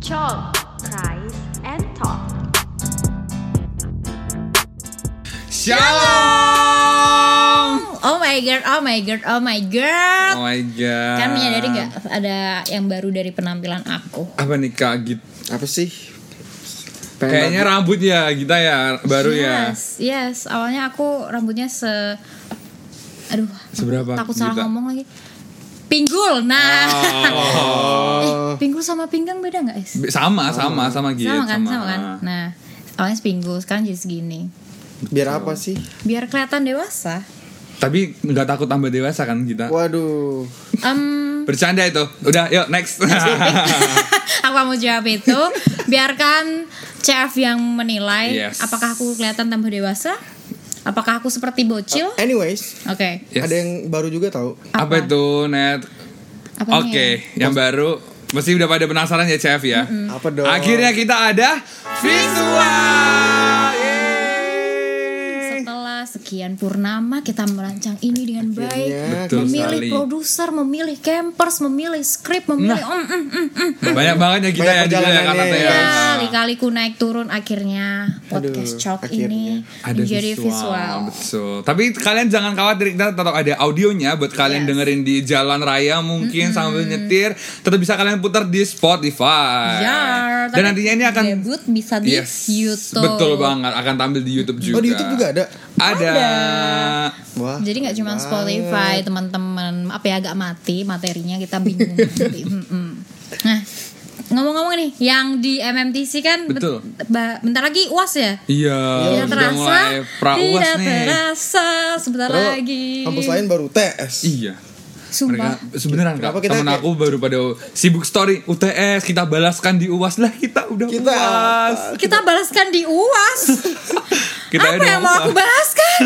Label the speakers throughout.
Speaker 1: Chalk, Price, and Talk.
Speaker 2: Shalom.
Speaker 3: Oh my god, oh my god, oh my god.
Speaker 2: Oh my god.
Speaker 3: Kan menyadari nggak ada yang baru dari penampilan aku?
Speaker 2: Apa nih Kak Git?
Speaker 4: apa sih Pengen
Speaker 2: Kayaknya rambut ya kita ya baru ya.
Speaker 3: yes, Yes, awalnya aku rambutnya se Aduh,
Speaker 2: Seberapa?
Speaker 3: takut salah
Speaker 2: Gita?
Speaker 3: ngomong lagi. Pinggul. Nah.
Speaker 4: Oh.
Speaker 3: eh, pinggul sama pinggang beda nggak, guys?
Speaker 2: Be- Sama, sama,
Speaker 4: Oh.
Speaker 2: Iya, sama Git.
Speaker 3: Sama kan, sama kan. Nah, awalnya sepinggul, sekarang jadi segini.
Speaker 4: biar apa sih
Speaker 3: Biar kelihatan dewasa.
Speaker 2: Tapi nggak takut tambah dewasa kan kita?
Speaker 4: waduh
Speaker 3: Em,
Speaker 2: Bercanda itu. Udah, yuk next.
Speaker 3: aku mau jawab itu biarkan CF yang menilai
Speaker 2: Yes.
Speaker 3: apakah aku kelihatan tambah dewasa apakah aku seperti bocil oke
Speaker 4: anyways
Speaker 2: Oh. Yes.
Speaker 4: ada yang baru juga Oh, tahu
Speaker 2: Apa itu net?
Speaker 3: Apanya
Speaker 2: Oke, yang baru mesti udah pada penasaran ya Chef ya.
Speaker 4: apa dong
Speaker 2: Akhirnya kita ada visual. Yeay.
Speaker 3: setelah sekian purnama kita merancang ini dengan baik
Speaker 4: Akhirnya
Speaker 2: Betul
Speaker 3: memilih
Speaker 2: sekali.
Speaker 3: produser memilih campers memilih skrip
Speaker 2: Nah.
Speaker 3: memilih om mm, mm, mm.
Speaker 2: Banyak banget ya kita ya
Speaker 4: Banyak
Speaker 2: di Jakarta
Speaker 4: perjalanannya
Speaker 2: ya.
Speaker 4: ya.
Speaker 3: Ya, kali-kaliku naik turun akhirnya podcast
Speaker 4: Aduh,
Speaker 3: chalk
Speaker 4: akhirnya.
Speaker 3: ini
Speaker 2: Ada
Speaker 3: menjadi
Speaker 2: visual.
Speaker 3: visual.
Speaker 2: Betul. Tapi kalian jangan khawatir kita tetap ada audionya buat kalian
Speaker 3: Yes.
Speaker 2: dengerin di jalan raya mungkin sambil nyetir, tetap bisa kalian putar di Spotify.
Speaker 3: Ya,
Speaker 2: Dan
Speaker 3: tapi
Speaker 2: nantinya ini akan
Speaker 3: debut bisa di
Speaker 2: Yes,
Speaker 3: YouTube.
Speaker 2: Betul banget, akan tampil di YouTube juga.
Speaker 4: oh di YouTube juga ada
Speaker 2: Ada.
Speaker 4: wah
Speaker 3: Jadi nggak cuma
Speaker 4: banget.
Speaker 3: Spotify teman-teman apa ya agak mati materinya kita bingung. nanti. Mm-mm. nah ngomong-ngomong nih yang di MMTC kan bet-
Speaker 2: Betul.
Speaker 3: ba- bentar lagi uas ya.
Speaker 2: Iya,
Speaker 3: Tidak
Speaker 2: udah
Speaker 3: terasa,
Speaker 2: mulai prauas
Speaker 3: tidak
Speaker 2: nih.
Speaker 3: terasa, sebentar
Speaker 4: Padahal
Speaker 3: lagi.
Speaker 4: kampus lain baru tes
Speaker 2: Iya.
Speaker 3: Sumpah.
Speaker 2: Mereka sebenarnya
Speaker 4: Kenapa
Speaker 2: kak,
Speaker 4: kita
Speaker 2: temen
Speaker 4: kayak-
Speaker 2: aku baru pada sibuk story UTS kita balaskan di UAS lah kita udah
Speaker 4: Kita
Speaker 2: UAS.
Speaker 3: Kita balaskan di uas.
Speaker 2: Kita
Speaker 3: apa
Speaker 2: udah
Speaker 3: yang mau
Speaker 2: UAS.
Speaker 3: aku balaskan?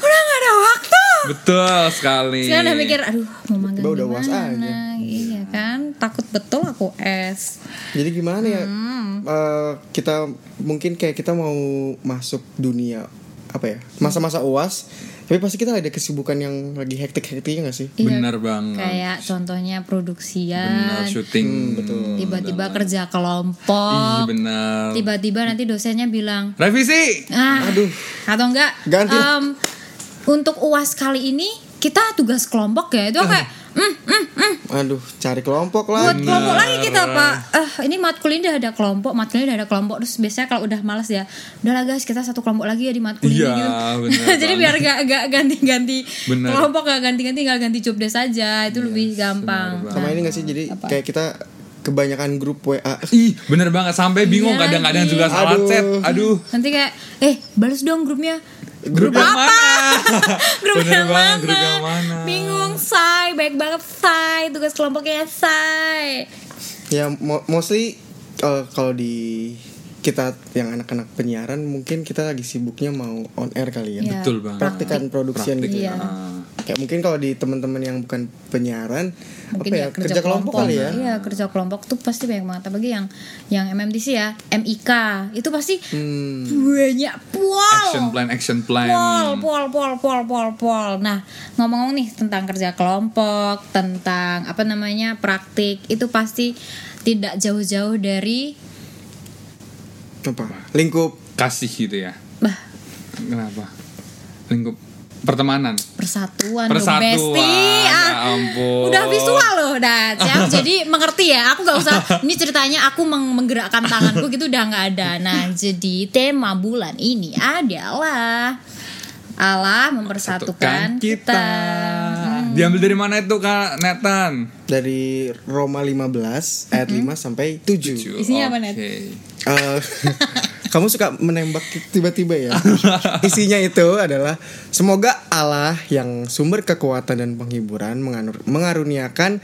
Speaker 3: Udah nggak ada waktu.
Speaker 2: Betul sekali.
Speaker 3: Sekarang udah mikir, aduh mau magang
Speaker 4: Tiba-tiba udah
Speaker 3: di
Speaker 4: UAS
Speaker 3: mana?
Speaker 4: aja.
Speaker 3: Iya kan, takut betul aku es.
Speaker 4: jadi gimana ya
Speaker 3: Hmm.
Speaker 4: Eh, kita mungkin kayak kita mau masuk dunia apa ya masa-masa uas tapi pasti kita ada kesibukan yang lagi hektik-hektiknya gak sih
Speaker 3: Iya,
Speaker 2: Bener banget.
Speaker 3: Kayak contohnya
Speaker 2: Benar
Speaker 3: produksian,
Speaker 2: syuting. betul.
Speaker 3: kan? Hmm, tiba-tiba kerja
Speaker 2: Ih,
Speaker 3: kelompok,
Speaker 2: benar.
Speaker 3: tiba-tiba nanti dosennya bilang,
Speaker 2: Revisi.
Speaker 3: ah,
Speaker 4: Aduh.
Speaker 3: atau enggak,
Speaker 4: Ganti.
Speaker 3: em, untuk uas kali ini kita tugas kelompok ya itu kayak,
Speaker 2: Eh.
Speaker 3: "Hmm, hmm, hmm,
Speaker 4: aduh cari kelompok
Speaker 3: buat
Speaker 4: lah
Speaker 3: kelompok lagi kita pak, eh ini matkul ini udah ada kelompok, matkul ini udah ada kelompok, terus biasanya kalau udah malas ya, udahlah guys kita satu kelompok lagi ya di matkul ini
Speaker 2: Iya,
Speaker 3: gitu.
Speaker 2: benar
Speaker 3: Jadi biar gak, gak ganti-ganti
Speaker 2: Benar. Iya,
Speaker 3: kelompok gak ganti-ganti, tinggal ganti job desk aja itu lebih gampang.
Speaker 4: sama ini gak sih jadi kayak kita kebanyakan grup WA
Speaker 2: Ih, bener banget sampai bingung
Speaker 3: Iya
Speaker 2: kadang-kadang
Speaker 3: lagi.
Speaker 2: juga salah
Speaker 4: Aduh.
Speaker 2: chat. Aduh,
Speaker 3: Nanti kayak eh balas dong grupnya.
Speaker 2: grup yang mana?
Speaker 3: Grup
Speaker 2: Bener
Speaker 3: yang
Speaker 2: banget,
Speaker 3: mana?
Speaker 2: grup yang mana?
Speaker 3: Bingung say, baik banget say, tugas kelompoknya say.
Speaker 4: Ya mo- mostly eh, kalau di kita yang anak-anak penyiaran mungkin kita lagi sibuknya mau on air kali ya.
Speaker 3: Iya.
Speaker 2: Betul banget.
Speaker 4: Praktikan production
Speaker 2: Praktik.
Speaker 4: gitu.
Speaker 3: Iya.
Speaker 2: Ah.
Speaker 4: Kayak mungkin kalau di teman-teman yang bukan penyiaran
Speaker 3: Mungkin
Speaker 4: apa ya, kerja, kelompok, kali ya.
Speaker 3: Iya, kerja kelompok tuh pasti banyak banget apalagi yang yang MMTC ya, MIK. Itu pasti banyak pol.
Speaker 2: Hmm. Action plan, action plan.
Speaker 3: Pol, pol, pol, pol, pol, pol. Nah, ngomong-ngomong nih tentang kerja kelompok, tentang apa namanya praktik, itu pasti tidak jauh-jauh dari
Speaker 4: Apa? Lingkup
Speaker 2: Kasih gitu ya.
Speaker 3: bah
Speaker 2: Kenapa? Lingkup pertemanan.
Speaker 3: persatuan,
Speaker 2: Persatuan,
Speaker 3: dong, Besti.
Speaker 2: ya
Speaker 3: Ah,
Speaker 2: ampun.
Speaker 3: udah visual loh, dah. Siap. jadi mengerti ya. Aku nggak usah. Ini ceritanya aku meng- menggerakkan tanganku gitu udah nggak ada. Nah, jadi tema bulan ini adalah Allah mempersatukan
Speaker 2: Satukan Hmm.
Speaker 3: kita. Hmm.
Speaker 2: Diambil dari mana itu Kak Netan?
Speaker 4: dari Roma 15 ayat 5 sampai 7.
Speaker 3: Isinya apa, Net?
Speaker 2: Oke.
Speaker 4: Eh, kamu suka menembak tiba-tiba ya. Isinya itu adalah semoga Allah yang sumber kekuatan dan penghiburan menganur- mengaruniakan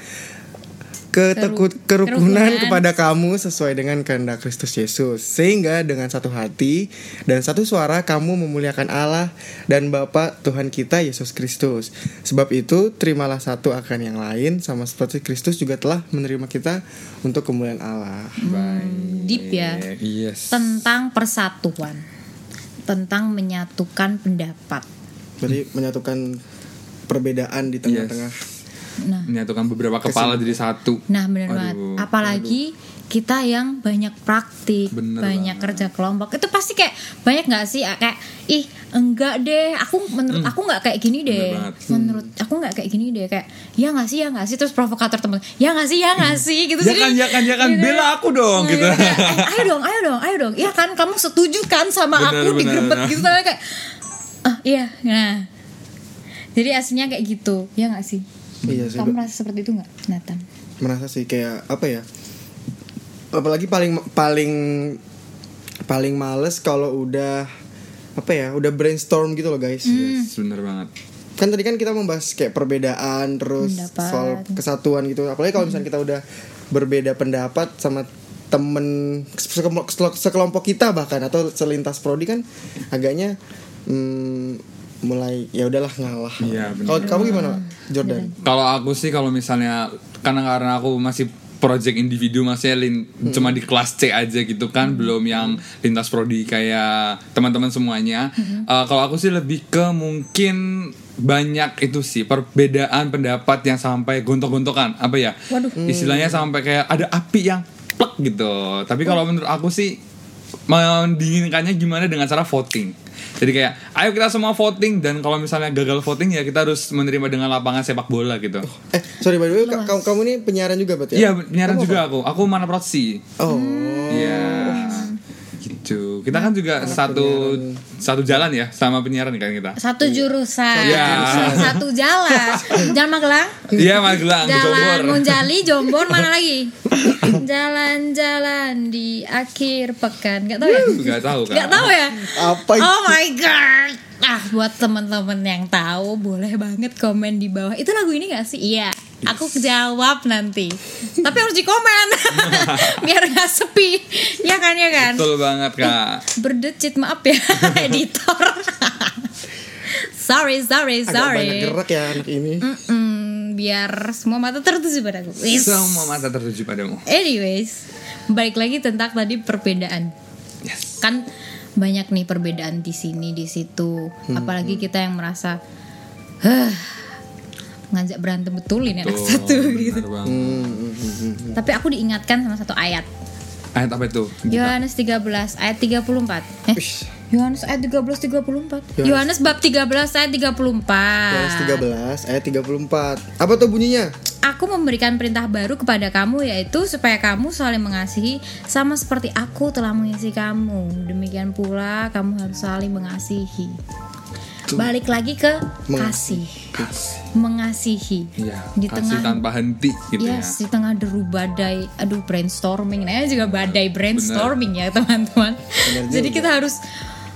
Speaker 4: keteku-
Speaker 3: Keru-
Speaker 4: kerukunan
Speaker 3: kerukunan.
Speaker 4: kepada kamu sesuai dengan kehendak Kristus Yesus sehingga dengan satu hati dan satu suara kamu memuliakan Allah dan Bapa Tuhan kita Yesus Kristus sebab itu terimalah satu akan yang lain sama seperti Kristus juga telah menerima kita untuk kemuliaan Allah
Speaker 3: Deep ya.
Speaker 2: Yes.
Speaker 3: tentang persatuan tentang menyatukan pendapat
Speaker 4: Jadi menyatukan perbedaan di tengah-tengah.
Speaker 2: Menyatukan beberapa kepala jadi satu.
Speaker 3: nah benar banget
Speaker 2: Aduh.
Speaker 3: apalagi kita yang banyak praktik,
Speaker 2: Bener
Speaker 3: banyak kerja kelompok. Itu pasti kayak banyak nggak sih ah, kayak ih enggak deh, aku menurut aku nggak kayak gini deh.
Speaker 2: Hmm. Bener banget. Hmm.
Speaker 3: Menurut aku nggak kayak gini deh kayak ya nggak sih ya nggak sih terus provokator temen ya nggak sih ya nggak sih gitu
Speaker 2: Ya
Speaker 3: Jadi-
Speaker 2: kan, ya kan, ya kan.
Speaker 3: Iya.
Speaker 2: Bela aku dong,
Speaker 3: Iya,
Speaker 2: gitu.
Speaker 3: kayak, "Eh, ayo dong ayo dong ayo dong ya kan kamu setuju kan sama
Speaker 2: Bener,
Speaker 3: aku
Speaker 2: bener,
Speaker 3: digrebet
Speaker 2: bener.
Speaker 3: gitu Soalnya kayak ah iya nah jadi aslinya kayak gitu ya nggak sih
Speaker 4: Iya sih.
Speaker 3: kamu merasa seperti itu nggak Nathan
Speaker 4: merasa sih kayak apa ya apalagi paling paling paling males kalau udah apa ya udah brainstorm gitu loh guys
Speaker 2: Yes, bener banget.
Speaker 4: kan tadi kan kita membahas kayak perbedaan terus
Speaker 3: Pendapat.
Speaker 4: soal kesatuan gitu apalagi kalau misalnya kita udah berbeda pendapat sama temen sekelompok, sekelompok kita bahkan atau selintas prodi kan agaknya mm, mulai ya udahlah ngalah
Speaker 2: Iya, benar.
Speaker 4: kalau kamu gimana Jordan
Speaker 2: Kalau aku sih kalau misalnya karena karena aku masih project individu masih lin, cuma di kelas C aja gitu kan belum yang lintas prodi kayak teman-teman semuanya. Eh, kalau aku sih lebih ke mungkin banyak itu sih perbedaan pendapat yang sampai gontok-gontokan apa ya
Speaker 3: Waduh.
Speaker 2: istilahnya sampai kayak ada api yang plek gitu. Tapi kalau menurut aku sih mendinginkannya gimana dengan cara voting. Jadi kayak ayo kita semua voting dan kalau misalnya gagal voting ya kita harus menerima dengan lapangan sepak bola gitu.
Speaker 4: eh sorry by the way ka- kamu kamu ini penyiaran juga berarti ya?
Speaker 2: Iya, penyiaran juga aku. Aku mana protsi.
Speaker 4: oh
Speaker 3: Hmm,
Speaker 2: Iya. Gitu. Kita kan juga satu satu jalan ya sama penyiaran kan kita.
Speaker 3: satu jurusan
Speaker 2: Iya.
Speaker 3: satu jalan jalan Magelang
Speaker 2: Iya, Magelang,
Speaker 3: jalan
Speaker 2: Bogor.
Speaker 3: Monjali Jombor mana lagi jalan-jalan di akhir pekan nggak tahu ya
Speaker 2: Gak tahu kan.
Speaker 3: Gak tahu ya?
Speaker 4: Apa itu?
Speaker 3: Oh my god. Ah, buat temen-temen yang tahu boleh banget komen di bawah. Itu lagu ini gak sih? Iya. Aku jawab nanti. Tapi harus dikomen. Biar gak sepi. Ya kan ya kan?
Speaker 2: Betul banget, Kak.
Speaker 3: Berdecit maaf ya editor. sorry, sorry,
Speaker 4: agak banyak
Speaker 3: sorry.
Speaker 4: gerak ya anak ini
Speaker 3: Mm, biar semua mata tertuju padaku. Is.
Speaker 2: Semua mata tertuju padamu.
Speaker 3: Anyways, balik lagi tentang tadi perbedaan.
Speaker 2: Yes.
Speaker 3: kan banyak nih perbedaan di sini di situ
Speaker 4: Hmm,
Speaker 3: apalagi kita yang merasa "Hah, ngajak berantem betul ini anak
Speaker 2: Tuh,
Speaker 3: satu
Speaker 2: benar
Speaker 3: gitu
Speaker 2: banget.
Speaker 3: tapi aku diingatkan sama satu ayat
Speaker 2: Ayat apa itu?
Speaker 3: Yohanes 13 ayat 34 eh
Speaker 4: Wih,
Speaker 3: Yohanes ayat 13 34 Yohanes bab 13 ayat
Speaker 4: Yohanes
Speaker 3: 34
Speaker 4: 13 ayat 34 Apa tuh bunyinya?
Speaker 3: Aku memberikan perintah baru kepada kamu yaitu supaya kamu saling mengasihi sama seperti aku telah mengasihi kamu. Demikian pula kamu harus saling mengasihi. Balik lagi ke kasih, mengasihi.
Speaker 2: Iya,
Speaker 3: Di
Speaker 2: kasih
Speaker 3: tengah
Speaker 2: tanpa henti gitu
Speaker 3: Yes,
Speaker 2: ya.
Speaker 3: di tengah deru badai, aduh brainstorming, nah juga badai brainstorming ya teman-teman. Jadi kita harus,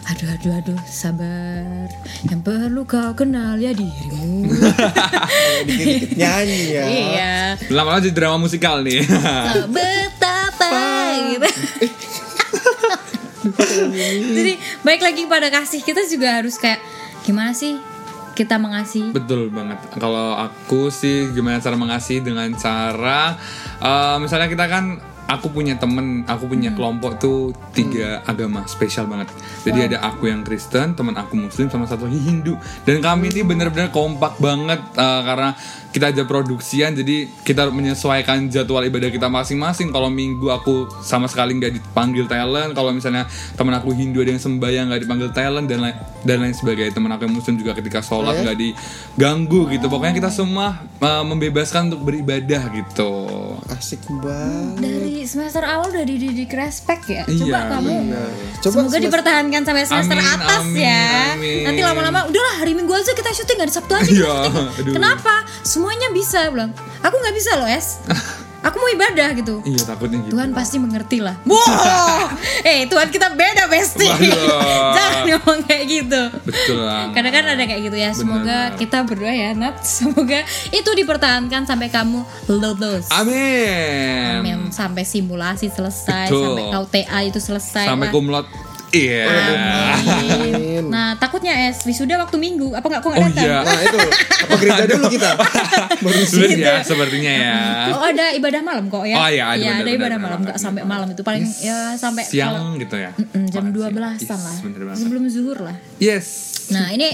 Speaker 3: aduh aduh aduh sabar. Yang perlu kau kenal ya dirimu.
Speaker 4: Dikit-dikit nyanyi ya
Speaker 3: Iya.
Speaker 2: Lama-lama jadi drama musikal nih.
Speaker 3: Nah, betapa gitu. Jadi baik lagi pada kasih kita juga harus kayak gimana sih kita mengasihi?
Speaker 2: Betul banget. Kalau aku sih gimana cara mengasihi dengan cara eh, misalnya kita kan aku punya temen, aku punya kelompok tuh tiga agama spesial banget. Jadi ada aku yang Kristen, teman aku Muslim, sama satu Hindu. Dan kami ini bener-bener kompak banget eh, karena kita ada produksian, jadi kita menyesuaikan jadwal ibadah kita masing-masing. Kalau minggu aku sama sekali nggak dipanggil talent, kalau misalnya teman aku Hindu ada yang sembahyang nggak dipanggil talent dan lain dan lain sebagainya. Teman aku yang Muslim juga ketika
Speaker 3: Iya.
Speaker 2: sholat nggak diganggu gitu. Pokoknya kita semua eh, membebaskan untuk beribadah gitu.
Speaker 4: Asik banget
Speaker 3: Dari semester awal udah dididik respect ya. Coba
Speaker 2: Iya,
Speaker 3: kamu
Speaker 4: Nah, Coba
Speaker 3: Semoga dipertahankan sampai semester
Speaker 2: Amin,
Speaker 3: atas
Speaker 2: amin,
Speaker 3: ya.
Speaker 2: amin.
Speaker 3: Nanti lama-lama udahlah hari Minggu aja kita syuting hari Sabtu
Speaker 2: Iya,
Speaker 3: aja. kita syuting.
Speaker 2: aduh.
Speaker 3: Kenapa? Semuanya bisa Aku bilang. Aku nggak bisa loh es. Aku mau ibadah gitu.
Speaker 2: Iya takutnya gitu.
Speaker 3: Tuhan pasti mengerti lah. Wow, eh Tuhan kita beda besti.
Speaker 2: Waduh.
Speaker 3: Jangan ngomong kayak gitu.
Speaker 2: Betul lah.
Speaker 3: Kadang kan ada kayak gitu ya.
Speaker 2: Benar.
Speaker 3: Semoga kita berdua ya Nat. Semoga itu dipertahankan sampai kamu lulus.
Speaker 2: Amin.
Speaker 3: Yang sampai simulasi selesai,
Speaker 2: Betul.
Speaker 3: sampai kau TA itu selesai.
Speaker 2: Sampai
Speaker 3: Nah,
Speaker 2: kumlot. Iya.
Speaker 3: Amin. Nah takutnya es wisuda waktu minggu apa nggak kok nggak
Speaker 2: Oh
Speaker 3: datang?
Speaker 2: iya.
Speaker 4: Nah itu Apa gereja dulu kita
Speaker 2: Sulit ya
Speaker 3: Iya.
Speaker 2: sepertinya ya.
Speaker 3: Oh ada ibadah malam kok ya?
Speaker 2: Oh, iya, ada benar,
Speaker 3: Iya, ada
Speaker 2: benar,
Speaker 3: ibadah
Speaker 2: benar,
Speaker 3: malam
Speaker 2: benar,
Speaker 3: nggak
Speaker 2: benar.
Speaker 3: sampai malam itu paling ya sampai kalau-
Speaker 2: siang gitu ya.
Speaker 3: Mm-mm, jam
Speaker 2: Makan
Speaker 3: 12 an
Speaker 2: siang.
Speaker 3: lah
Speaker 2: Yes, bener banget.
Speaker 3: sebelum zuhur lah.
Speaker 2: Yes.
Speaker 3: Nah ini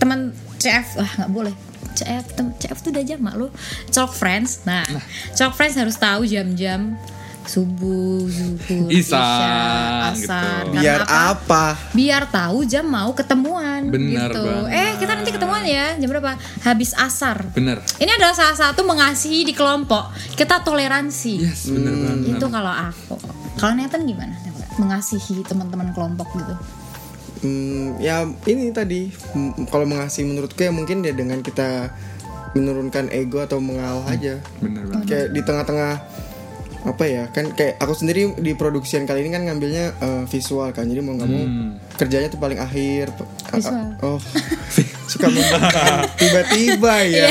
Speaker 3: teman CF wah nggak boleh CF
Speaker 2: Nah.
Speaker 3: tem- CF tuh udah jamak lo. Chalk friends. Nah, chalk friends harus tahu jam-jam subuh, zuhur,
Speaker 2: Isya, gitu.
Speaker 3: asar. Karena
Speaker 4: Biar
Speaker 3: apa?
Speaker 4: apa?
Speaker 3: Biar tahu jam mau ketemuan
Speaker 2: Benar
Speaker 3: gitu.
Speaker 2: banget.
Speaker 3: Eh, kita nanti ketemuan ya. Jam berapa? Habis asar.
Speaker 2: Bener.
Speaker 3: Ini adalah salah satu mengasihi di kelompok. Kita toleransi.
Speaker 2: Yes, bener banget.
Speaker 3: Hmm, Itu kalau aku. Kalau Nathan gimana? Mengasihi teman-teman kelompok gitu.
Speaker 4: Hmm, ya ini tadi m- kalau mengasihi menurutku ya mungkin ya dengan kita menurunkan ego atau mengalah aja.
Speaker 2: Bener banget.
Speaker 4: Kayak di tengah-tengah apa ya kan kayak aku sendiri di produksian kali ini kan ngambilnya eh, visual kan jadi mau nggak mau kerjanya tuh paling akhir pe- a- a-
Speaker 3: Visual.
Speaker 4: oh suka membuka tiba-tiba
Speaker 3: Iya.
Speaker 4: ya